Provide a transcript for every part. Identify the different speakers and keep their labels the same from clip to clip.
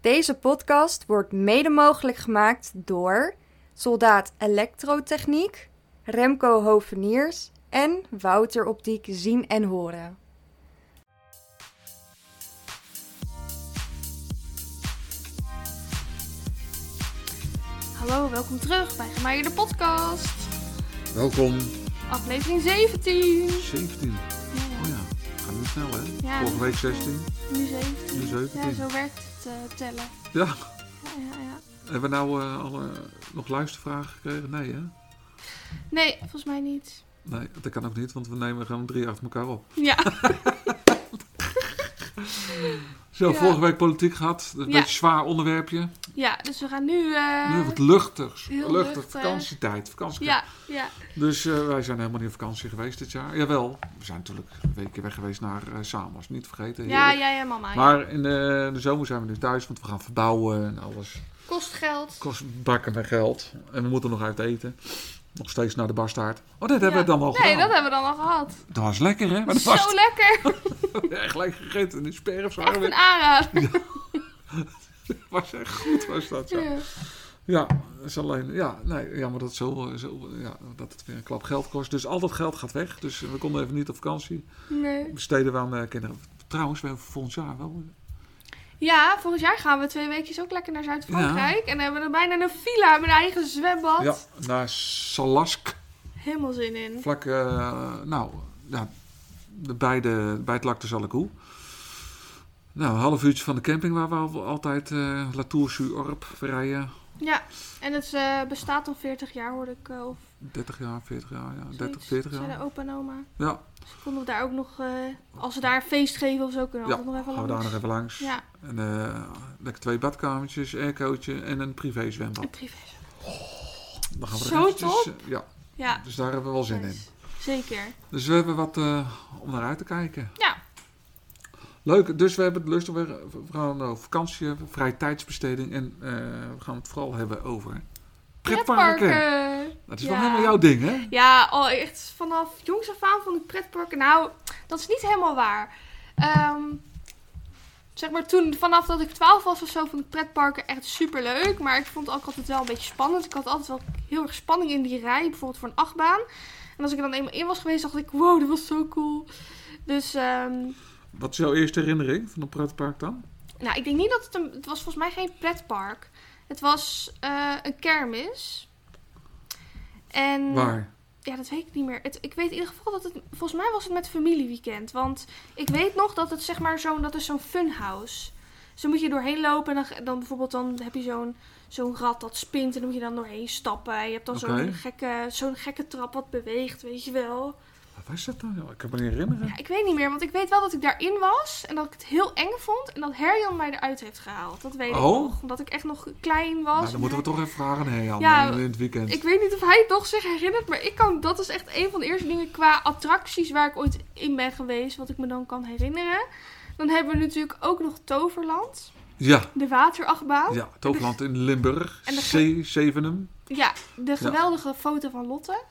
Speaker 1: Deze podcast wordt mede mogelijk gemaakt door Soldaat Elektrotechniek, Remco Hoveniers en Wouter Optiek Zien en Horen.
Speaker 2: Hallo, welkom terug bij Gemaier de podcast.
Speaker 3: Welkom.
Speaker 2: Aflevering 17.
Speaker 3: 17. Oh ja, gaan we snel hè?
Speaker 2: Ja.
Speaker 3: Vorige week 16.
Speaker 2: Nu 17.
Speaker 3: Nu 17.
Speaker 2: Ja, zo werkt het eh, tellen.
Speaker 3: Ja.
Speaker 2: Ja, ja, ja.
Speaker 3: Hebben we nou eh, alle, nog luistervragen gekregen? Nee hè?
Speaker 2: Nee, volgens mij niet.
Speaker 3: Nee, dat kan ook niet, want we nemen gewoon drie achter elkaar op.
Speaker 2: Ja,
Speaker 3: Zo,
Speaker 2: Ja.
Speaker 3: vorige week politiek gehad. Een
Speaker 2: Ja.
Speaker 3: beetje zwaar onderwerpje.
Speaker 2: ja dus we gaan nu... eh,
Speaker 3: Nu wat luchtigs.
Speaker 2: heel
Speaker 3: Luchtig,
Speaker 2: luchtig.
Speaker 3: vakantietijd. Vakantie.
Speaker 2: ja, ja,
Speaker 3: Dus eh, wij zijn helemaal niet op vakantie geweest dit jaar. Jawel, we zijn natuurlijk een weekje weg geweest naar eh Samos. Niet vergeten.
Speaker 2: ja,
Speaker 3: heerlijk.
Speaker 2: ja, ja, mama. ja.
Speaker 3: Maar in de, de zomer zijn we nu thuis, want we gaan verbouwen en alles.
Speaker 2: Kost geld.
Speaker 3: kost bakken met geld. En we moeten nog uit eten. Nog steeds naar de bastaard. Oh, dat hebben
Speaker 2: Ja.
Speaker 3: we dan al
Speaker 2: Nee,
Speaker 3: gedaan.
Speaker 2: dat hebben we dan al gehad.
Speaker 3: Dat was lekker, hè? Maar dat
Speaker 2: Zo
Speaker 3: was
Speaker 2: lekker.
Speaker 3: echt lekker gegeten. Die sperf
Speaker 2: Echt
Speaker 3: waren
Speaker 2: een
Speaker 3: weer.
Speaker 2: aanrader.
Speaker 3: was echt goed, was dat zo.
Speaker 2: Ja.
Speaker 3: Ja, is alleen... Ja, nee, jammer dat, het zo, zo, ja, dat het weer een klap geld kost. Dus al dat geld gaat weg. Dus we konden even niet op vakantie.
Speaker 2: Nee.
Speaker 3: Besteden we aan eh, kinderen. Trouwens, we hebben volgend jaar wel...
Speaker 2: Ja, volgend jaar gaan we twee weekjes ook lekker naar Zuid-Frankrijk. En hebben we dan bijna een villa met een eigen zwembad.
Speaker 3: Ja, naar Salask.
Speaker 2: Helemaal zin in.
Speaker 3: Vlak, eh, nou, ja, de- bij, de, bij het Lac de Zallecoe. Nou, een half uurtje van de camping waar we al- altijd eh La Tour sur Orb rijden.
Speaker 2: Ja, en het eh, bestaat al 40 jaar, hoorde ik. eh, Of
Speaker 3: 30 jaar, 40 jaar, ja. 30,
Speaker 2: zoiets.
Speaker 3: 40
Speaker 2: Zijn
Speaker 3: jaar.
Speaker 2: er opa en oma.
Speaker 3: Ja,
Speaker 2: Dus konden we daar ook nog, eh, als ze daar een feest geven of zo, kunnen we
Speaker 3: ja.
Speaker 2: altijd nog even
Speaker 3: gaan we daar
Speaker 2: langs.
Speaker 3: nog even langs.
Speaker 2: Ja,
Speaker 3: En eh, lekker twee badkamertjes, aircootje en een privé zwembad.
Speaker 2: een privé.
Speaker 3: Dan gaan we
Speaker 2: Zo
Speaker 3: eventjes, eh, Ja,
Speaker 2: Ja,
Speaker 3: dus daar hebben we wel zin in.
Speaker 2: nice. zeker.
Speaker 3: Dus we hebben wat eh, om naar uit te kijken.
Speaker 2: Ja.
Speaker 3: Leuk, dus we hebben het lust. We we gaan over vakantie, hebben, vrije tijdsbesteding. En eh, we gaan het vooral hebben over pretparken.
Speaker 2: Pretparken.
Speaker 3: Dat is
Speaker 2: Ja.
Speaker 3: wel helemaal jouw ding, hè?
Speaker 2: Ja, oh, echt vanaf jongs af aan vond ik pretparken. Nou, dat is niet helemaal waar. Ehm, zeg maar toen, vanaf dat ik 12 was of zo, vond ik pretparken echt super leuk. Maar ik vond het ook altijd wel een beetje spannend. Ik had altijd wel heel erg spanning in die rij, bijvoorbeeld voor een achtbaan. En als ik er dan eenmaal in was geweest, dacht ik, wow, dat was zo cool. Dus, ehm,
Speaker 3: Wat is jouw eerste herinnering van een pretpark dan?
Speaker 2: nou, ik denk niet dat het een... Het was volgens mij geen pretpark. Het was eh, een kermis. En...
Speaker 3: Waar?
Speaker 2: Ja, dat weet ik niet meer. Het, ik weet in ieder geval dat het... Volgens mij was het met familieweekend. Want ik weet nog dat het zeg maar zo'n... Dat is zo'n funhouse. Dus dan moet je doorheen lopen. En dan, dan bijvoorbeeld dan heb je zo'n zo'n rad dat spint. En dan moet je dan doorheen stappen. En je hebt dan
Speaker 3: Oké.
Speaker 2: zo'n gekke, zo'n gekke trap wat beweegt. Weet je wel.
Speaker 3: Wat was dat dan? Ik kan me niet herinneren.
Speaker 2: Ja, ik weet niet meer. Want ik weet wel dat ik daarin was. En dat ik het heel eng vond. En dat Herjan mij eruit heeft gehaald. Dat weet ik
Speaker 3: Oh.
Speaker 2: nog. Omdat ik echt nog klein was.
Speaker 3: nou, dan moeten we toch even vragen aan Jan
Speaker 2: Ja,
Speaker 3: in het weekend.
Speaker 2: Ik weet niet of hij het nog zich herinnert, maar ik kan, dat is echt een van de eerste dingen qua attracties waar ik ooit in ben geweest, wat ik me dan kan herinneren. Dan hebben we natuurlijk ook nog Toverland,
Speaker 3: Ja,
Speaker 2: de waterachtbaan. Ja,
Speaker 3: ja, Toverland in Limburg,
Speaker 2: Oh, En de
Speaker 3: C, Zevenum.
Speaker 2: de geweldige foto van Lotte.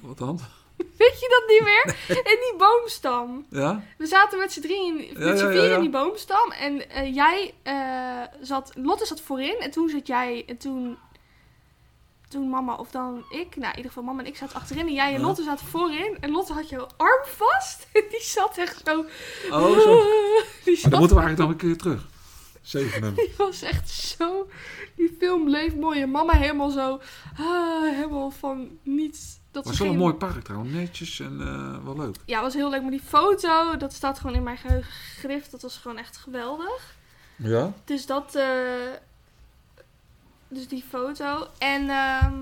Speaker 3: Wat dan?
Speaker 2: Weet je dat niet meer? En die boomstam.
Speaker 3: Ja?
Speaker 2: We zaten met z'n drieën, met
Speaker 3: Ja, ja,
Speaker 2: z'n
Speaker 3: ja,
Speaker 2: vier
Speaker 3: ja.
Speaker 2: in die boomstam. En eh, jij eh, zat, Lotte zat voorin en toen zat jij, en toen, toen mama of dan ik, nou in ieder geval mama en ik zaten achterin. En jij en
Speaker 3: Ja.
Speaker 2: Lotte zaten voorin en Lotte had jouw arm vast. En die zat echt zo.
Speaker 3: Oh, zo.
Speaker 2: Die
Speaker 3: Maar
Speaker 2: zat,
Speaker 3: dan moeten we eigenlijk nog een keer terug. Zevenum.
Speaker 2: die was echt zo, die film bleef mooi. En mama helemaal zo, ah, helemaal van niets. Dat
Speaker 3: was
Speaker 2: ze
Speaker 3: wel een
Speaker 2: geen-
Speaker 3: mooi park trouwens. Netjes en eh, wel leuk.
Speaker 2: Ja, was heel leuk, maar die foto, dat staat gewoon in mijn geheugen gegrift. Dat was gewoon echt geweldig.
Speaker 3: Ja?
Speaker 2: Dus dat. eh, dus die foto. En ehm,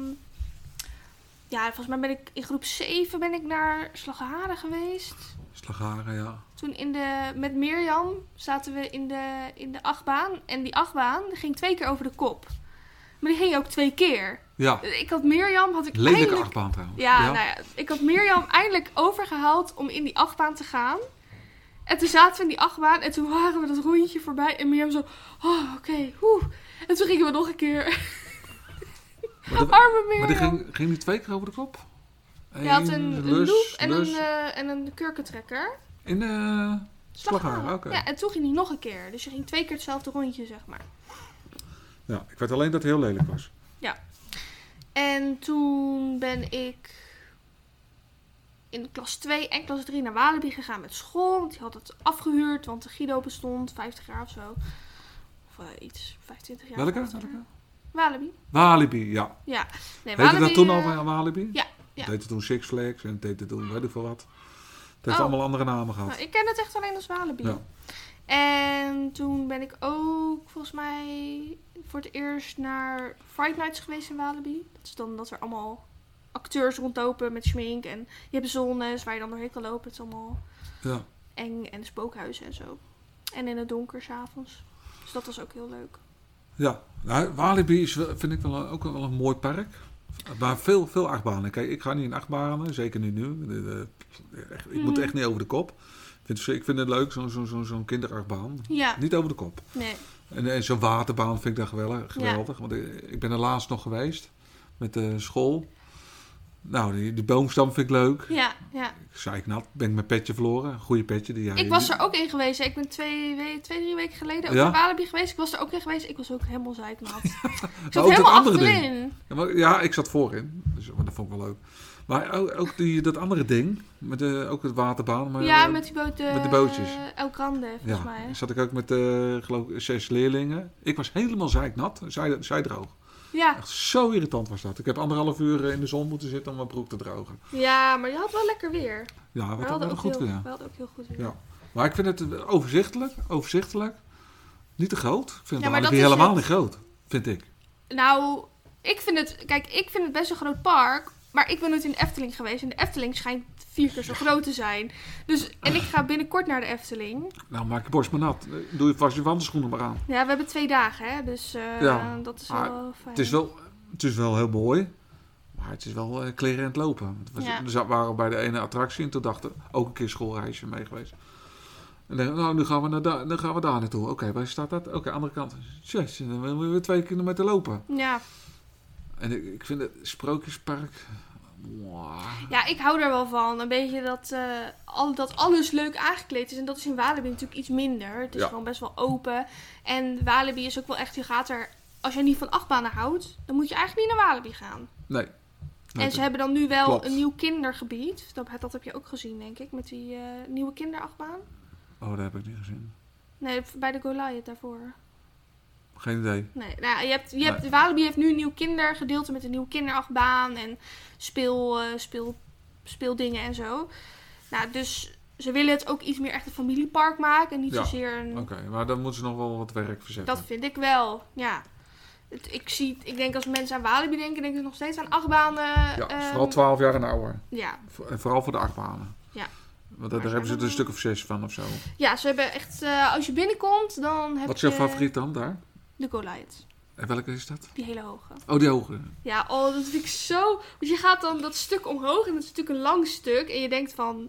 Speaker 2: ja, volgens mij ben ik in groep 7 ben ik naar Slagharen geweest.
Speaker 3: Slagharen, ja.
Speaker 2: Toen in de, met Mirjam zaten we in de, in de achtbaan. En die achtbaan ging twee keer over de kop. Maar die ging ook twee keer.
Speaker 3: Ja,
Speaker 2: Ik had Mirjam, had ik
Speaker 3: lelijke
Speaker 2: eindelijk...
Speaker 3: achtbaan trouwens.
Speaker 2: Ja, nou ja, ik had Mirjam eindelijk overgehaald om in die achtbaan te gaan. En toen zaten we in die achtbaan en toen waren we dat rondje voorbij. En Mirjam zo, oh, oké, oeh. En toen gingen we nog een keer.
Speaker 3: maar, dat-
Speaker 2: Arme Mirjam.
Speaker 3: maar die ging, ging die twee keer over de kop?
Speaker 2: Je had
Speaker 3: Eén
Speaker 2: een, een
Speaker 3: lus,
Speaker 2: loop en
Speaker 3: lus.
Speaker 2: een, eh en een kurkentrekker.
Speaker 3: In de Slagharen, oké.
Speaker 2: Ja, en toen ging hij nog een keer. Dus je ging twee keer hetzelfde rondje, zeg maar.
Speaker 3: Ja, ik weet alleen dat het heel lelijk was.
Speaker 2: En toen ben ik in klas 2 en klas 3 naar Walibi gegaan met school. Want die had het afgehuurd, want de Guido bestond 50 jaar of zo. Of eh, iets, 25 jaar.
Speaker 3: Welke?
Speaker 2: 50 jaar.
Speaker 3: Welke?
Speaker 2: Walibi.
Speaker 3: Walibi, ja.
Speaker 2: Ja. Nee,
Speaker 3: Heette dat toen al
Speaker 2: eh,
Speaker 3: wel Walibi?
Speaker 2: ja, ja.
Speaker 3: Het heette toen Six Flags en het heette toen weet ik veel wat. Het heeft
Speaker 2: Oh.
Speaker 3: allemaal andere namen
Speaker 2: Nou,
Speaker 3: gehad.
Speaker 2: ik ken het echt alleen als Walibi.
Speaker 3: Ja.
Speaker 2: En toen ben ik ook volgens mij voor het eerst naar Fright Nights geweest in Walibi. Dat is dan dat er allemaal acteurs rondlopen met schmink. En je hebt zones waar je dan doorheen kan lopen. Het is allemaal
Speaker 3: Ja.
Speaker 2: eng en spookhuizen en zo. En in het donker s'avonds. Dus dat was ook heel leuk.
Speaker 3: ja. Nou, Walibi is, wel- vind ik wel, een- ook wel een mooi park. Maar veel, veel achtbanen. Kijk, ik ga niet in achtbanen, zeker niet nu. De- de- echt- Ik moet
Speaker 2: Mhm.
Speaker 3: echt niet over de kop. Ik vind, ik vind het leuk, zo'n zo, zo, zo'n kinderachtbaan.
Speaker 2: Ja,
Speaker 3: Niet over de kop.
Speaker 2: nee.
Speaker 3: En, en zo'n waterbaan vind ik dan geweldig. geweldig Want ik, ik ben er laatst nog geweest met de school. Nou, die, die boomstam vind ik leuk.
Speaker 2: Ja, ja.
Speaker 3: Ik zei ik nat, ben ik mijn petje verloren. Goede petje. Die jij,
Speaker 2: Ik was er ook in geweest. hè. Ik ben twee, we- twee drie weken geleden ook
Speaker 3: Ja?
Speaker 2: naar Walibi geweest. Ik was er ook in geweest. Ik was ook helemaal zeiknat. ik
Speaker 3: dat
Speaker 2: zat helemaal
Speaker 3: andere ding.
Speaker 2: achterin.
Speaker 3: Ja, maar- ja, ik zat voorin. Dus, maar dat vond ik wel leuk. Maar ook, ook die, dat andere ding, met de, ook het waterbaan. Maar,
Speaker 2: ja,
Speaker 3: eh,
Speaker 2: met die boot, eh,
Speaker 3: met die bootjes.
Speaker 2: El Grande, volgens
Speaker 3: ja,
Speaker 2: mij.
Speaker 3: zat ik ook met eh, geloof ik, zes leerlingen. Ik was helemaal zeiknat, zij, zij droog.
Speaker 2: Ja.
Speaker 3: Echt zo irritant was dat. Ik heb anderhalf uur eh, in de zon moeten zitten om mijn broek te drogen.
Speaker 2: ja, maar je had wel lekker weer.
Speaker 3: Ja,
Speaker 2: We
Speaker 3: wat ook
Speaker 2: hadden
Speaker 3: wel
Speaker 2: ook,
Speaker 3: goed
Speaker 2: heel,
Speaker 3: gedaan.
Speaker 2: we hadden ook heel goed weer.
Speaker 3: Ja. Maar ik vind het eh, overzichtelijk, overzichtelijk. Niet te groot. Ik vind
Speaker 2: Ja, maar
Speaker 3: het
Speaker 2: dat is
Speaker 3: helemaal
Speaker 2: het.
Speaker 3: niet groot, vind ik.
Speaker 2: Nou, ik vind het... Kijk, ik vind het best een groot park. Maar ik ben nooit in de Efteling geweest. En de Efteling schijnt vier keer zo groot te zijn. Dus, en ik ga binnenkort naar de Efteling.
Speaker 3: Nou, maak je borst maar nat. Eh, Doe je vast je wandelschoenen maar aan.
Speaker 2: Ja, we hebben twee dagen, hè. Dus eh,
Speaker 3: Ja,
Speaker 2: dat is
Speaker 3: maar
Speaker 2: wel fijn.
Speaker 3: Het is wel, het is wel heel mooi, maar het is wel eh kleren aan het lopen. We
Speaker 2: Ja.
Speaker 3: z- waren bij de ene attractie en toen dachten we, ook een keer schoolreisje mee geweest. En dan, nou, nu gaan we, naar daar- dan gaan we daar naartoe. Oké, waar staat dat? Oké, andere kant. Tjus, dan moeten we weer twee kilometer lopen.
Speaker 2: Ja.
Speaker 3: En ik, ik vind het Sprookjespark... mwah.
Speaker 2: ja, ik hou er wel van. Een beetje dat, eh, al, dat alles leuk aangekleed is. En dat is in Walibi natuurlijk iets minder. Het is
Speaker 3: Ja.
Speaker 2: gewoon best wel open. En Walibi is ook wel echt... Je gaat er... Als je niet van achtbanen houdt, dan moet je eigenlijk niet naar Walibi gaan.
Speaker 3: Nee. Nee,
Speaker 2: en ze hebben dan nu wel
Speaker 3: Klopt.
Speaker 2: een nieuw kindergebied. Dat, dat heb je ook gezien, denk ik, met die eh, nieuwe kinderachtbaan.
Speaker 3: Oh, dat heb ik niet gezien.
Speaker 2: Nee, bij de Goliath daarvoor.
Speaker 3: Geen idee.
Speaker 2: Nee, nou, je hebt, je hebt, Walibi heeft nu een nieuw kindergedeelte met een nieuwe kinderachtbaan en speel, eh, speel, speeldingen en zo. Nou, dus ze willen het ook iets meer echt een familiepark maken en niet
Speaker 3: Ja,
Speaker 2: zozeer een...
Speaker 3: Oké, maar dan moeten ze nog wel wat werk verzetten.
Speaker 2: Mm. Dat vind ik wel, ja. Het, ik, zie, ik denk als mensen aan Walibi denken, denken ze nog steeds aan achtbanen.
Speaker 3: ja,
Speaker 2: ehm,
Speaker 3: vooral 12 jaar en ouder.
Speaker 2: ja.
Speaker 3: Vo- en Vooral voor de achtbanen.
Speaker 2: Ja.
Speaker 3: Want daar
Speaker 2: Maar-
Speaker 3: hebben ze er een stuk of zes van of zo.
Speaker 2: ja, ze hebben echt... eh, als je binnenkomt, dan heb
Speaker 3: Wat is
Speaker 2: je...
Speaker 3: jouw favoriet dan daar?
Speaker 2: De Goliath.
Speaker 3: En welke is dat?
Speaker 2: Die hele hoge.
Speaker 3: Oh, die hoge.
Speaker 2: Ja, oh, dat vind ik zo... Want je gaat dan dat stuk omhoog en dat is natuurlijk een lang stuk. En je denkt van,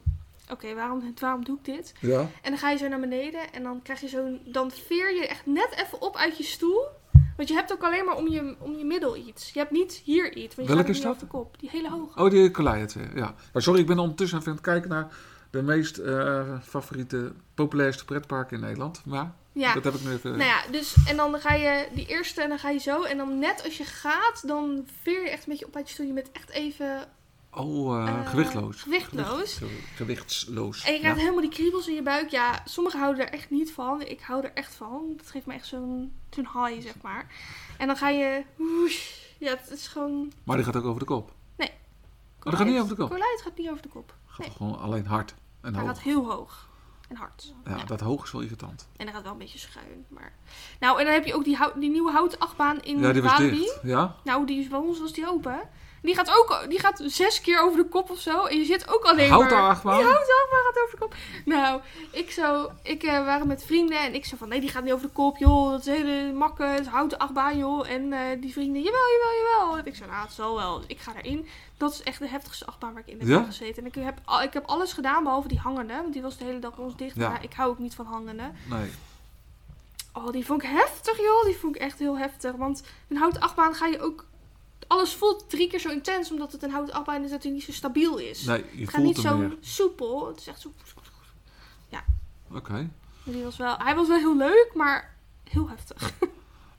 Speaker 2: oké, waarom, waarom doe ik dit?
Speaker 3: Ja.
Speaker 2: En dan ga je zo naar beneden en dan krijg je zo'n... Dan veer je echt net even op uit je stoel. Want je hebt ook alleen maar om je, om je middel iets. Je hebt niet hier iets. Want je
Speaker 3: Welke
Speaker 2: gaat er
Speaker 3: is
Speaker 2: niet
Speaker 3: dat?
Speaker 2: over de kop. Die hele hoge.
Speaker 3: Oh, die Goliath weer. Ja. Maar sorry, ik ben ondertussen even aan het kijken naar de meest eh, favoriete, populairste pretparken in Nederland. Maar
Speaker 2: ja.
Speaker 3: dat eh. heb ik nu even...
Speaker 2: Nou ja, dus en dan ga je die eerste en dan ga je zo. En dan net als je gaat, dan veer je echt een beetje op uit je stoel. Je bent echt even
Speaker 3: Oh, eh,
Speaker 2: eh,
Speaker 3: gewichtloos.
Speaker 2: gewichtloos.
Speaker 3: Gewicht- Gewichtsloos.
Speaker 2: En je krijgt
Speaker 3: Ja.
Speaker 2: helemaal die kriebels in je buik. Ja, sommigen houden er echt niet van. Ik hou er echt van. Dat geeft me echt zo'n zo'n high, zeg maar. En dan ga je... woesh. ja, het is gewoon...
Speaker 3: Maar die gaat ook over de kop.
Speaker 2: Oh,
Speaker 3: dat gaat niet over de kop?
Speaker 2: Colite gaat niet over de kop.
Speaker 3: Gaat
Speaker 2: Nee.
Speaker 3: toch gewoon alleen hard en
Speaker 2: Hij
Speaker 3: hoog.
Speaker 2: gaat heel hoog. En hard.
Speaker 3: Ja, dat hoog is wel irritant.
Speaker 2: En hij gaat wel een beetje schuin. Maar... Nou, en dan heb je ook die, hout, die nieuwe houten achtbaan in
Speaker 3: ja, die was
Speaker 2: Walibi.
Speaker 3: dicht. Ja?
Speaker 2: Nou, die is bij ons was die open. Die gaat ook die gaat zes keer over de kop of zo. En je zit ook alleen
Speaker 3: Houten
Speaker 2: maar...
Speaker 3: achtbaan?
Speaker 2: Die houten achtbaan gaat over de kop. Nou, ik zo... Ik eh, waren met vrienden en ik zo van... Nee, die gaat niet over de kop, joh. Dat is hele makke. Het is houten achtbaan, joh. En eh, die vrienden... Jawel, jawel, jawel. En ik zo... Nou, het zal wel. Dus ik ga erin. Dat is echt de heftigste achtbaan waar ik in heb
Speaker 3: Ja?
Speaker 2: gezeten. En ik heb, al- ik heb alles gedaan, behalve die hangende. Want die was de hele dag bij ons dicht.
Speaker 3: Ja.
Speaker 2: Maar ik hou ook niet van hangende.
Speaker 3: Nee.
Speaker 2: Oh, die vond ik heftig, joh. Die vond ik echt heel heftig. Want een houten achtbaan ga je ook... Alles voelt drie keer zo intens, omdat het een houten achtbaan is dat hij niet zo stabiel is.
Speaker 3: Nee, je
Speaker 2: het gaat niet
Speaker 3: voelt hem
Speaker 2: zo
Speaker 3: meer.
Speaker 2: soepel. Het is echt zo... Ja,
Speaker 3: Oké.
Speaker 2: Maar Die was wel, hij was wel heel leuk, maar heel heftig.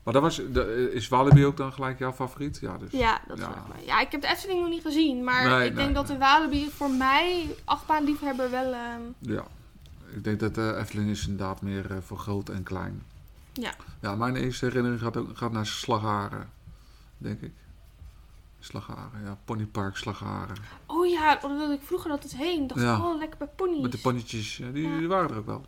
Speaker 3: Maar dat was, de- is Walibi ook dan gelijk jouw favoriet? Ja, dus.
Speaker 2: Ja, dat
Speaker 3: Ja.
Speaker 2: vraag ik me. Ja, ik heb de Efteling nog niet gezien. Maar
Speaker 3: Nee,
Speaker 2: ik
Speaker 3: nee,
Speaker 2: denk dat
Speaker 3: nee.
Speaker 2: de Walibi voor mij, achtbaanliefhebber, wel... ehm,
Speaker 3: Ja. Ik denk dat eh Efteling is inderdaad meer eh, voor groot en klein.
Speaker 2: Ja.
Speaker 3: Ja, mijn eerste herinnering gaat, ook, gaat naar Slagharen, denk ik. Slagharen, ja. Ponypark Slagharen.
Speaker 2: Oh ja, omdat ik vroeger altijd heen. dacht
Speaker 3: Ja.
Speaker 2: ik, oh, lekker bij ponies.
Speaker 3: Met de ponnetjes, ja, die,
Speaker 2: Ja.
Speaker 3: die waren er ook wel.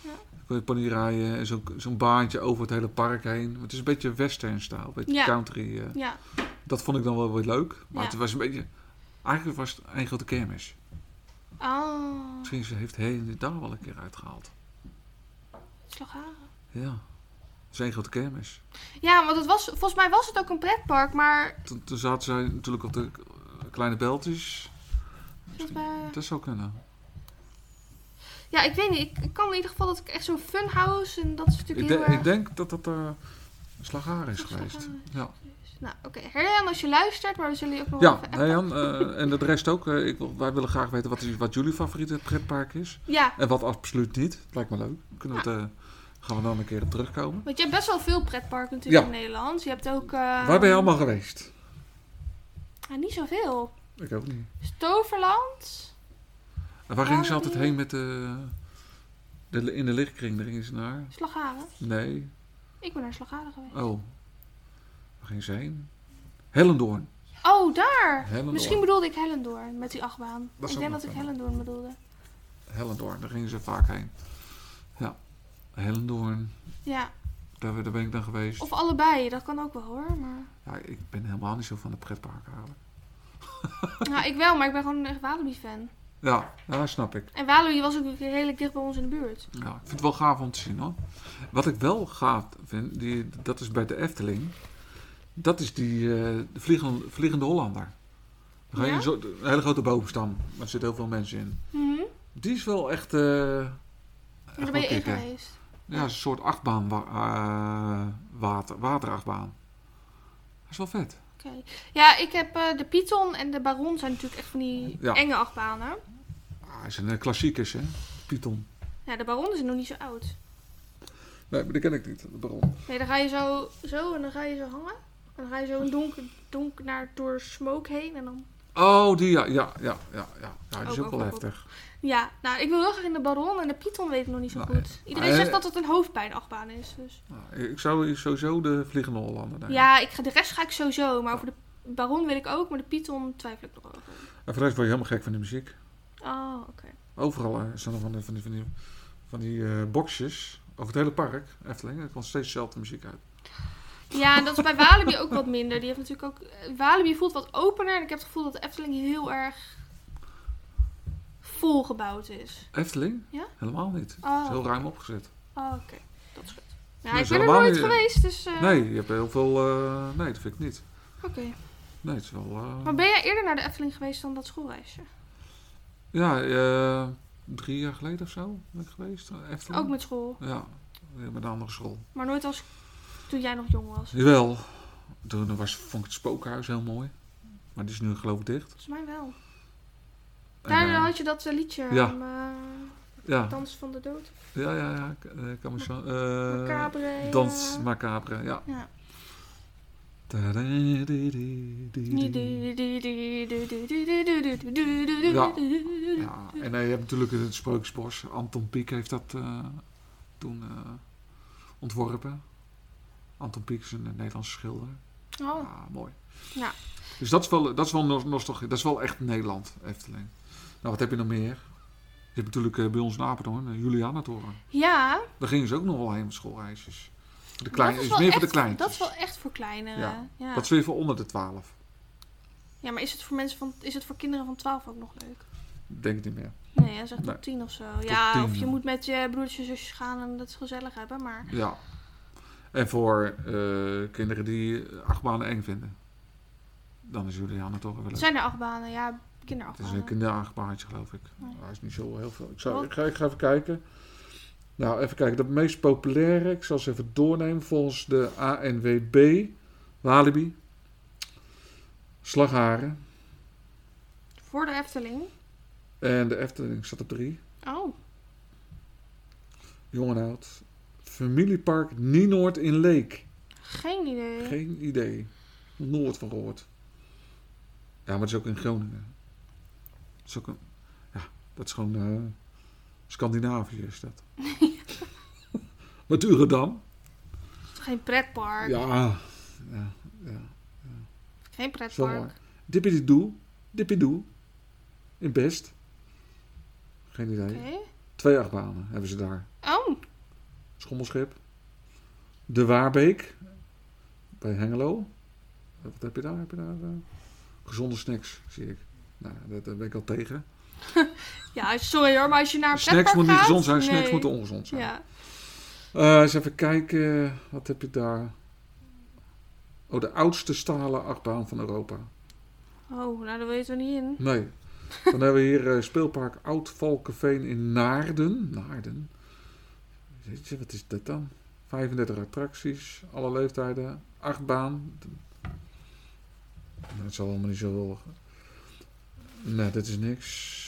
Speaker 2: Ja.
Speaker 3: Dan kon je pony rijden en zo'n zo'n baantje over het hele park heen. Want Het is een beetje western-stijl, een beetje
Speaker 2: Ja.
Speaker 3: country. eh.
Speaker 2: Ja,
Speaker 3: Dat vond ik dan wel weer leuk. Maar
Speaker 2: Ja.
Speaker 3: het was een beetje... Eigenlijk was het een grote kermis.
Speaker 2: ah,
Speaker 3: Misschien ze heeft hij het daar wel een keer uitgehaald.
Speaker 2: slagharen.
Speaker 3: Ja. Het is een grote kermis.
Speaker 2: Ja, want het was, volgens mij was het ook een pretpark, maar...
Speaker 3: Toen, toen zaten zij natuurlijk op de eh, kleine beltjes.
Speaker 2: volgens mij-
Speaker 3: Dat zou kunnen.
Speaker 2: Ja, ik weet niet. Ik, ik kan in ieder geval dat ik echt zo'n funhouse... En dat is
Speaker 3: Ik,
Speaker 2: natuurlijk
Speaker 3: de-
Speaker 2: heel erg...
Speaker 3: ik denk dat dat eh Slagharen is
Speaker 2: Dat is
Speaker 3: geweest.
Speaker 2: Slagharen.
Speaker 3: Ja,
Speaker 2: Nou, oké. Herjan, als je luistert, maar we zullen je ook nog
Speaker 3: ja
Speaker 2: even...
Speaker 3: nee, Jan, eh, en de rest ook. Eh, ik, wil- wij willen graag weten wat, is- wat jullie favoriete pretpark is.
Speaker 2: Ja,
Speaker 3: En wat absoluut niet. Lijkt me leuk. Kunnen we het, eh, gaan we dan een keer op terugkomen.
Speaker 2: want je hebt best wel veel pretparken natuurlijk
Speaker 3: Ja.
Speaker 2: in Nederland. Je hebt ook... eh,
Speaker 3: Waar ben je allemaal geweest?
Speaker 2: Ja, Ah, niet zoveel.
Speaker 3: Ik ook niet.
Speaker 2: Stoverland.
Speaker 3: En waar gingen ze
Speaker 2: Waar
Speaker 3: altijd
Speaker 2: ben
Speaker 3: heen met de... de in de lichtkring, daar gingen ze naar.
Speaker 2: Slagharen.
Speaker 3: Nee.
Speaker 2: Ik ben naar Slagharen geweest.
Speaker 3: Oh. Waar ging ze heen? Hellendoorn.
Speaker 2: Oh, daar!
Speaker 3: Hellendoorn.
Speaker 2: Misschien bedoelde ik Hellendoorn met die achtbaan.
Speaker 3: Dat
Speaker 2: ik
Speaker 3: zou
Speaker 2: denk
Speaker 3: nog
Speaker 2: dat ik
Speaker 3: kunnen.
Speaker 2: Hellendoorn bedoelde.
Speaker 3: Hellendoorn, daar gingen ze vaak heen. Ja, Hellendoorn,
Speaker 2: Ja,
Speaker 3: daar, daar ben ik dan geweest.
Speaker 2: of allebei. Dat kan ook wel hoor. Maar...
Speaker 3: Ja, ik ben helemaal niet zo van de pretparken halen.
Speaker 2: nou, ik wel, maar ik ben gewoon een echt Walibi-fan.
Speaker 3: Ja, ja, dat snap ik.
Speaker 2: En Walibi was ook redelijk dicht bij ons in de buurt.
Speaker 3: Ja, ik vind het wel gaaf om te zien hoor. Wat ik wel gaaf vind, die, dat is bij de Efteling. Dat is die eh, de vliegende, vliegende Hollander. Dan ga je
Speaker 2: Ja?
Speaker 3: in zo, een hele grote boomstam, maar er zitten heel veel mensen in.
Speaker 2: Mhm.
Speaker 3: Die is wel echt... eh, echt
Speaker 2: Maar daar
Speaker 3: wel
Speaker 2: ben je in
Speaker 3: kicken.
Speaker 2: geweest.
Speaker 3: Ja, het is een soort achtbaan, wa- eh, water, waterachtbaan. Dat is wel vet.
Speaker 2: Oké. Ja, ik heb eh, de Python en de Baron zijn natuurlijk echt van die
Speaker 3: Ja.
Speaker 2: enge achtbanen.
Speaker 3: Ah, hij is een eh, klassiekers, hè? Python.
Speaker 2: Ja, de Baron is nog niet zo oud.
Speaker 3: Nee, maar die ken ik niet, de baron.
Speaker 2: Nee, dan ga je zo, zo en dan ga je zo hangen. En dan ga je zo een donker, donker naar, door smoke heen en dan
Speaker 3: Oh, die, ja, ja, ja, ja. ja. ja die is
Speaker 2: Ook
Speaker 3: ook
Speaker 2: overkop.
Speaker 3: wel heftig.
Speaker 2: Ja, nou, ik wil heel graag in de Baron en de Python weet ik nog niet zo
Speaker 3: Nou,
Speaker 2: goed. Iedereen
Speaker 3: eh,
Speaker 2: zegt dat het een hoofdpijnachtbaan is. Dus.
Speaker 3: Nou, ik zou sowieso de Vliegende Hollander nemen.
Speaker 2: Ja, ik ga, de rest ga ik sowieso, maar over de Baron weet ik ook, maar de Python twijfel ik nog over.
Speaker 3: En voor de rest word je helemaal gek van die muziek.
Speaker 2: Oh, oké.
Speaker 3: Overal eh, staan er van die, van die, van die, van die eh, boxjes over het hele park, Efteling. Er komt steeds dezelfde muziek uit.
Speaker 2: Ja, en dat is bij Walibi ook wat minder. Die heeft natuurlijk ook... eh, Walibi voelt wat opener en ik heb het gevoel dat de Efteling heel erg volgebouwd is.
Speaker 3: Efteling?
Speaker 2: Ja?
Speaker 3: Helemaal niet. Het is
Speaker 2: Oh,
Speaker 3: heel ruim opgezet.
Speaker 2: oh, oké. Dat is goed. Nou,
Speaker 3: Nee,
Speaker 2: ik
Speaker 3: is
Speaker 2: ben er
Speaker 3: helemaal
Speaker 2: nog niet
Speaker 3: niet, eh,
Speaker 2: geweest, dus... eh,
Speaker 3: Nee, je hebt heel veel... eh, nee, dat vind ik niet.
Speaker 2: Oké.
Speaker 3: Nee, het is wel... eh,
Speaker 2: Maar ben jij eerder naar de Efteling geweest dan dat schoolreisje?
Speaker 3: Ja, eh, drie jaar geleden of zo ben ik geweest. eh, Efteling.
Speaker 2: Ook met school,
Speaker 3: Ja, weer met een andere school.
Speaker 2: maar nooit als toen jij nog jong was.
Speaker 3: Jawel. Toen was, vond ik het spookhuis heel mooi. Maar die is nu geloof ik dicht.
Speaker 2: Volgens mij wel.
Speaker 3: En,
Speaker 2: Daar
Speaker 3: eh,
Speaker 2: had je dat eh, liedje
Speaker 3: ja.
Speaker 2: om, eh,
Speaker 3: ja.
Speaker 2: Dans van de Dood.
Speaker 3: ja, ja, ja. k- eh, kan me zo- eh,
Speaker 2: Macabre.
Speaker 3: Dans
Speaker 2: eh,
Speaker 3: macabre, ja.
Speaker 2: Ja.
Speaker 3: Ja, en eh, je hebt natuurlijk het Sprookjesbos. Anton Pieck heeft dat eh, toen eh, ontworpen. Anton Pieck is een Nederlandse schilder.
Speaker 2: Oh,
Speaker 3: Ja, Ah, mooi.
Speaker 2: Ja.
Speaker 3: Dus dat is wel, dat is wel nos- nostalgie. Dat is wel echt Nederland, Efteling. Nou, wat heb je nog meer? Je hebt natuurlijk eh, bij ons in Apeldoorn, de Juliana-toren.
Speaker 2: ja,
Speaker 3: Daar gingen ze ook nog wel heen met schoolreisjes. De klein,
Speaker 2: dat
Speaker 3: is,
Speaker 2: wel
Speaker 3: meer
Speaker 2: echt,
Speaker 3: voor de kleintjes.
Speaker 2: Dat is wel echt voor kleinere. Ja.
Speaker 3: Ja.
Speaker 2: Ja.
Speaker 3: Dat is weer voor onder de 12.
Speaker 2: maar is het voor mensen van, is het voor kinderen van 12 ook nog leuk?
Speaker 3: Denk ik niet meer.
Speaker 2: Nee, hij zegt
Speaker 3: Nee.
Speaker 2: tot 10 of zo. ja,
Speaker 3: 10,
Speaker 2: of je
Speaker 3: ja.
Speaker 2: moet met je broertjes en zusjes gaan en dat is gezellig hebben, maar
Speaker 3: Ja. En voor eh, kinderen die achtbanen eng vinden. Dan is Juliana-toren wel
Speaker 2: het
Speaker 3: leuk.
Speaker 2: zijn er achtbanen, ja,
Speaker 3: Het is een
Speaker 2: kinderachtbanen.
Speaker 3: kinderachtbaantje, geloof ik.
Speaker 2: Nee.
Speaker 3: Hij is niet zo heel veel. Ik, zou,
Speaker 2: Wat?
Speaker 3: ik, ga, ik ga even kijken. Nou, even kijken. De meest populaire, ik zal ze even doornemen. Volgens de ANWB, Walibi, Slagharen
Speaker 2: Voor de Efteling.
Speaker 3: en de Efteling staat op drie.
Speaker 2: Oh,
Speaker 3: Jong en oud. Familiepark Nienoord in Leek.
Speaker 2: Geen idee.
Speaker 3: Geen idee. Nooit van gehoord. Ja, maar het is ook in Groningen. Het is ook een... Ja, dat is gewoon... eh, Scandinavië is dat. Met Uredam.
Speaker 2: Het is toch geen pretpark?
Speaker 3: Ja. Ja, ja.
Speaker 2: Geen
Speaker 3: Zo mooi.
Speaker 2: pretpark.
Speaker 3: Dippity doe. Dippity doe. In Best. Geen idee.
Speaker 2: Oké.
Speaker 3: Twee achtbanen hebben ze daar.
Speaker 2: Oh,
Speaker 3: Schommelschip. De Waarbeek. Bij Hengelo. Wat heb je daar? Heb je daar eh, gezonde snacks, zie ik. Nou, dat daar ben ik al tegen.
Speaker 2: ja, sorry hoor, maar als je naar een pretpark
Speaker 3: Snacks moeten niet
Speaker 2: gaat,
Speaker 3: gezond zijn, snacks
Speaker 2: nee.
Speaker 3: moeten ongezond zijn.
Speaker 2: Ja,
Speaker 3: Eh, eens even kijken, wat heb je daar? Oh, de oudste stalen achtbaan van Europa.
Speaker 2: oh, nou daar wil je toch niet in.
Speaker 3: Nee. Dan hebben we hier eh, speelpark Oud Valkenveen in Naarden. Naarden. Jeetje, wat is dat dan? 35 attracties, alle leeftijden, achtbaan. Nou, het zal allemaal niet zoveel. Nee, dat is niks.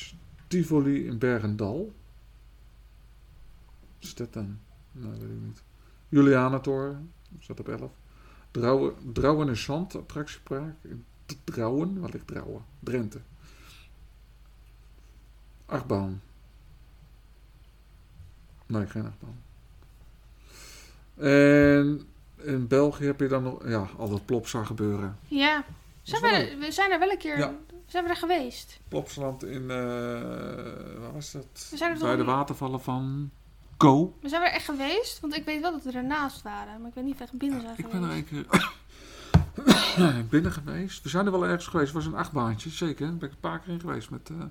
Speaker 3: Tivoli in Bergendal. Wat is dat dan? Nee, weet ik niet. Julianatoren, staat op 11. Drouwen, Drouwen en Zand, attractiepark in D- Drouwen, waar ligt Drouwen? Drenthe. Achtbaan. Nee, geen achtbaan. En in België heb je dan nog... Ja, al dat plopsa gebeuren.
Speaker 2: Ja, zijn
Speaker 3: wel
Speaker 2: we, we zijn er wel een keer,
Speaker 3: Ja.
Speaker 2: zijn we er geweest?
Speaker 3: Plopsaland in... eh waar was dat?
Speaker 2: We zijn er toch
Speaker 3: Bij de
Speaker 2: niet-
Speaker 3: watervallen van... Ko.
Speaker 2: We zijn we er echt geweest, want ik weet wel dat we ernaast waren, maar ik weet niet of we echt binnen zijn
Speaker 3: Ik ben
Speaker 2: geweest.
Speaker 3: er een keer... binnen geweest. We zijn er wel ergens geweest. Het was een achtbaantje, zeker. Daar ben ik een paar keer in geweest met eh,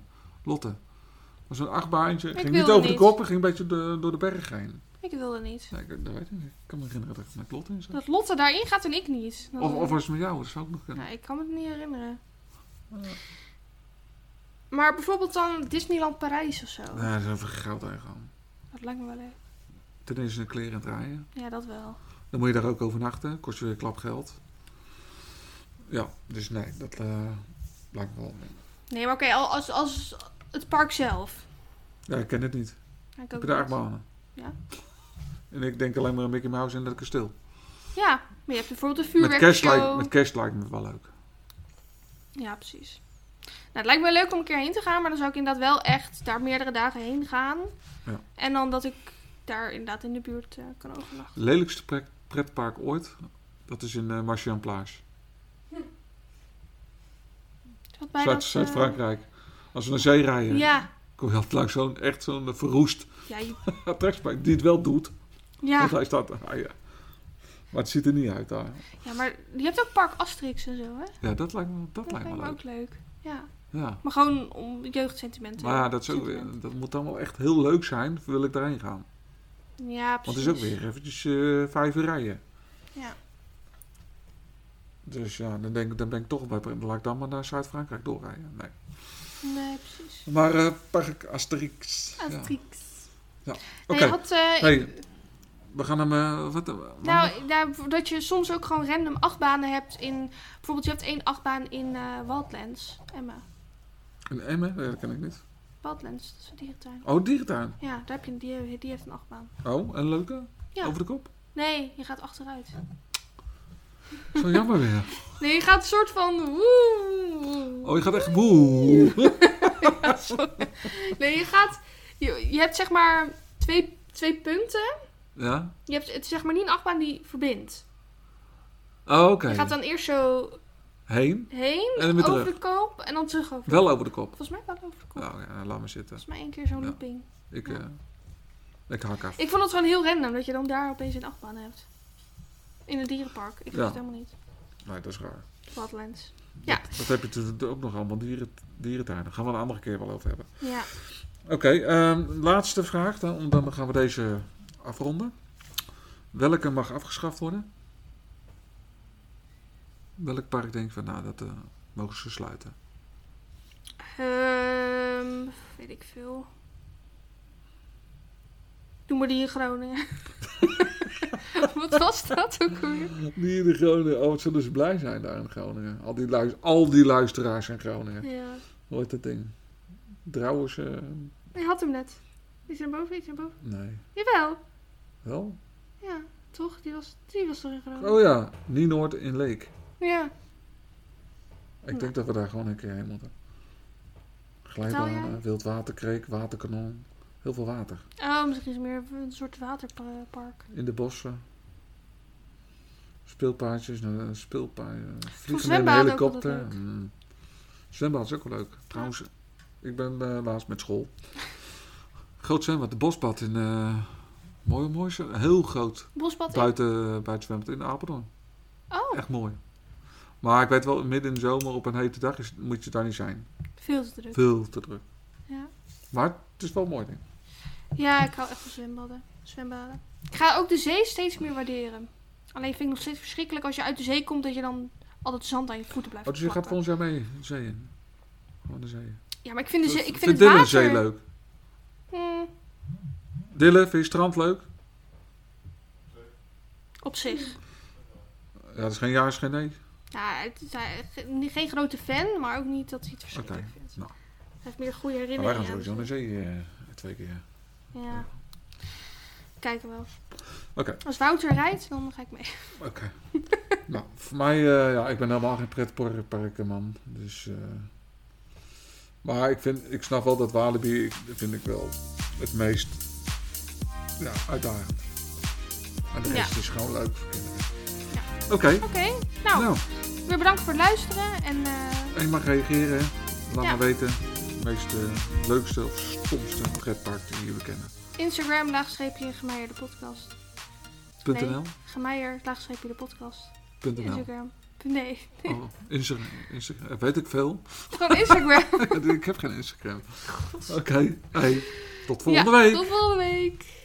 Speaker 3: Lotte. Het was een achtbaantje. Het ging niet
Speaker 2: wilde
Speaker 3: over de
Speaker 2: niet.
Speaker 3: koppen, ging een beetje de- door de berg heen.
Speaker 2: Ik wilde niet.
Speaker 3: Nee, ik, dat weet ik niet. Ik kan me herinneren dat ik met Lotte in zat.
Speaker 2: Dat Lotte daarin gaat en ik niet. Dat-
Speaker 3: Of, of was het met jou, dat zou ook nog kunnen.
Speaker 2: Nou, ik kan me het niet herinneren. Maar bijvoorbeeld dan Disneyland Parijs of zo.
Speaker 3: Nee, dat is even goud aan.
Speaker 2: Dat lijkt me wel leuk.
Speaker 3: Ten eerste een kleren draaien.
Speaker 2: Ja, dat wel.
Speaker 3: Dan moet je daar ook overnachten. Kost je weer een klap geld. Ja, dus nee, dat eh, lijkt me wel.
Speaker 2: Nee, maar oké, al- als, als het park zelf.
Speaker 3: Ja, ik ken het niet.
Speaker 2: Ja, Ik
Speaker 3: Ik
Speaker 2: ook
Speaker 3: heb de
Speaker 2: niet.
Speaker 3: achtbanen.
Speaker 2: Ja.
Speaker 3: En ik denk alleen maar aan Mickey Mouse en dat kasteel.
Speaker 2: Ja, maar je hebt bijvoorbeeld een
Speaker 3: Met cash, lijkt,
Speaker 2: vuurwerkshow.
Speaker 3: met cash lijkt me wel leuk.
Speaker 2: Ja, precies. Nou, het lijkt me wel leuk om een keer heen te gaan, maar dan zou ik inderdaad wel echt daar meerdere dagen heen gaan.
Speaker 3: Ja.
Speaker 2: En dan dat ik daar inderdaad in de buurt eh, kan overnachten.
Speaker 3: Lelijkste pre- pretpark ooit. Dat is in eh Marchian Plage.
Speaker 2: Is dat bij
Speaker 3: Zuid-
Speaker 2: dat, eh,
Speaker 3: Zuid-Frankrijk. Als we naar zee rijden,
Speaker 2: Ja,
Speaker 3: kom je altijd langs zo'n echt zo'n eh, verroest
Speaker 2: ja, je-
Speaker 3: attractiepark. Die het wel doet.
Speaker 2: ja.
Speaker 3: Want hij staat ah, ja. Maar het ziet er niet uit daar.
Speaker 2: ja, maar je hebt ook Park Asterix en zo, hè?
Speaker 3: Ja, dat lijkt me, dat
Speaker 2: Dat
Speaker 3: lijkt me leuk.
Speaker 2: ook leuk. Ja,
Speaker 3: Ja.
Speaker 2: maar gewoon om jeugdsentimenten.
Speaker 3: Maar ja, dat, is ook
Speaker 2: Sentimenten.
Speaker 3: weer, dat moet dan wel echt heel leuk zijn. Wil ik daarheen gaan.
Speaker 2: Ja,
Speaker 3: Want
Speaker 2: precies.
Speaker 3: het is ook weer eventjes eh, vijf uur rijden.
Speaker 2: Ja.
Speaker 3: Dus ja, dan, denk, ik- dan ben ik toch bij... Laat ik dan maar naar Zuid-Frankrijk doorrijden. Nee.
Speaker 2: Nee, precies.
Speaker 3: Maar eh Park Asterix. ja.
Speaker 2: Asterix.
Speaker 3: Oké,
Speaker 2: Nee, had, eh,
Speaker 3: hey, we gaan hem... eh, wat, eh, wat-
Speaker 2: Nou, daar- dat je soms ook gewoon random achtbanen hebt in... Bijvoorbeeld, je hebt één achtbaan in eh, Wildlands. Emma.
Speaker 3: Een emmer? Nee, dat ken ik niet.
Speaker 2: Wildlands, dat is een dierentuin.
Speaker 3: Oh, dierentuin.
Speaker 2: Ja, daar heb je, een- die, die heeft een achtbaan.
Speaker 3: Oh, een leuke?
Speaker 2: Ja.
Speaker 3: Over de kop?
Speaker 2: Nee, je gaat achteruit.
Speaker 3: Zo jammer weer.
Speaker 2: Nee, je gaat een soort van... woe.
Speaker 3: Oh, je gaat echt boe.
Speaker 2: Ja, sorry. Nee, je gaat... Je, je hebt zeg maar twee, twee punten.
Speaker 3: Ja?
Speaker 2: Je hebt, het is zeg maar niet een achtbaan die verbindt.
Speaker 3: Oh, oké.
Speaker 2: Je gaat dan eerst zo
Speaker 3: Heen?
Speaker 2: heen,
Speaker 3: En dan weer
Speaker 2: over de
Speaker 3: terug.
Speaker 2: koop en dan terug over de
Speaker 3: Wel
Speaker 2: koop.
Speaker 3: over de kop.
Speaker 2: Volgens mij wel over de koop.
Speaker 3: Nou, ja, laat maar zitten.
Speaker 2: Volgens mij één keer zo'n
Speaker 3: Ja.
Speaker 2: looping.
Speaker 3: Ik, eh ik hak af.
Speaker 2: Ik vond het gewoon heel random dat je dan daar opeens een achtbaan hebt. In een dierenpark. Ik wist
Speaker 3: Ja.
Speaker 2: het helemaal niet.
Speaker 3: Nee, dat is raar.
Speaker 2: Badlands. Ja.
Speaker 3: Dat heb je natuurlijk ook nog allemaal, dieren, dierentuinen. Daar gaan we een andere keer wel over hebben.
Speaker 2: Ja.
Speaker 3: Oké, ehm, laatste vraag. Dan, dan gaan we deze afronden. Welke mag afgeschaft worden? Welk park denk je van, nou, dat eh, mogen ze sluiten?
Speaker 2: Ehm, weet ik veel. Noem maar die in Groningen. Wat was dat ook weer?
Speaker 3: Die in Groningen, oh, wat zullen ze blij zijn daar in Groningen. Al die, luis- al die luisteraars in Groningen.
Speaker 2: Ja.
Speaker 3: Hoe heet dat ding? Drouwers, eh,
Speaker 2: Ik had hem net. Iets naar boven, iets naar boven.
Speaker 3: Nee.
Speaker 2: Jawel.
Speaker 3: Wel?
Speaker 2: Ja, toch? Die was, die was erin genomen.
Speaker 3: Oh ja, Nienoord in Leek.
Speaker 2: Ja.
Speaker 3: Ik denk dat we daar gewoon een keer heen moeten. Glijbanen,
Speaker 2: Vertel
Speaker 3: wildwaterkreek, waterkanon. Heel veel water.
Speaker 2: Oh, misschien is het meer een soort waterpark.
Speaker 3: In de bossen. Speelpaardjes, eh, speelpaard. Vliegen met een
Speaker 2: zwembad ook
Speaker 3: helikopter.
Speaker 2: altijd leuk.
Speaker 3: Mm. Zwembad is ook wel leuk. Trouwens, ik ben eh, laatst met school. Groot zwembad, de bosbad in. eh mooi, mooi. zo- Heel groot.
Speaker 2: Bosbad in-
Speaker 3: Buiten, eh, buiten zwembad in Apeldoorn.
Speaker 2: Oh,
Speaker 3: Echt mooi. Maar ik weet wel, midden in de zomer op een hete dag is, moet je daar niet zijn.
Speaker 2: veel te druk.
Speaker 3: Veel te druk.
Speaker 2: Ja.
Speaker 3: Maar het is wel mooi, denk ik.
Speaker 2: ja, ik hou echt van zwembaden. zwembaden. Ik ga ook de zee steeds meer waarderen. Alleen vind ik nog steeds verschrikkelijk als je uit de zee komt dat je dan altijd zand aan je voeten blijft
Speaker 3: Oh, dus je gaat
Speaker 2: plakken.
Speaker 3: volgens jou mee de zee in? Gewoon de zee.
Speaker 2: Ja, maar Dus ik vind, de zee, ik vind het
Speaker 3: Dylan
Speaker 2: water...
Speaker 3: zee leuk?
Speaker 2: Hmm,
Speaker 3: Dille, vind je strand leuk?
Speaker 2: op zich.
Speaker 3: Ja, dat is geen ja, is geen nee.
Speaker 2: Ja, het is, hij- ge- niet- geen grote fan, maar ook niet dat hij het verschrikkelijk
Speaker 3: Oké,
Speaker 2: vindt.
Speaker 3: nou.
Speaker 2: Hij heeft meer goede
Speaker 3: Maar wij
Speaker 2: herinneringen.
Speaker 3: gaan
Speaker 2: aan
Speaker 3: sowieso
Speaker 2: de
Speaker 3: naar de zee eh, twee keer.
Speaker 2: zee. Ja. Kijken wel.
Speaker 3: Oké.
Speaker 2: Als Wouter rijdt, dan ga ik mee.
Speaker 3: Oké. nou, voor mij, eh, ja, ik ben helemaal geen pretparkenman. Dus, eh, maar ik, vind, ik snap wel dat Walibi, ik, vind ik wel het meest ja, uitdagend. En de
Speaker 2: Ja.
Speaker 3: rest is gewoon leuk voor kinderen.
Speaker 2: Ja.
Speaker 3: Oké,
Speaker 2: Oké, nou,
Speaker 3: nou,
Speaker 2: weer bedankt voor het luisteren. En eh,
Speaker 3: en je mag reageren. hè. Laat
Speaker 2: Ja.
Speaker 3: me weten. De meest eh, leukste of stomste pretpark die jullie kennen.
Speaker 2: Instagram, laagstreepje, Gemeijer de podcast. Nee.
Speaker 3: .nl?
Speaker 2: Gemeijer, laagstreepje, de podcast.
Speaker 3: .nl.
Speaker 2: Instagram. Nee,
Speaker 3: Oh, Insta- Insta- eh, weet ik veel.
Speaker 2: gewoon Instagram.
Speaker 3: ik heb geen Instagram. Oké, hey, tot volgende
Speaker 2: Ja,
Speaker 3: week.
Speaker 2: Tot volgende week.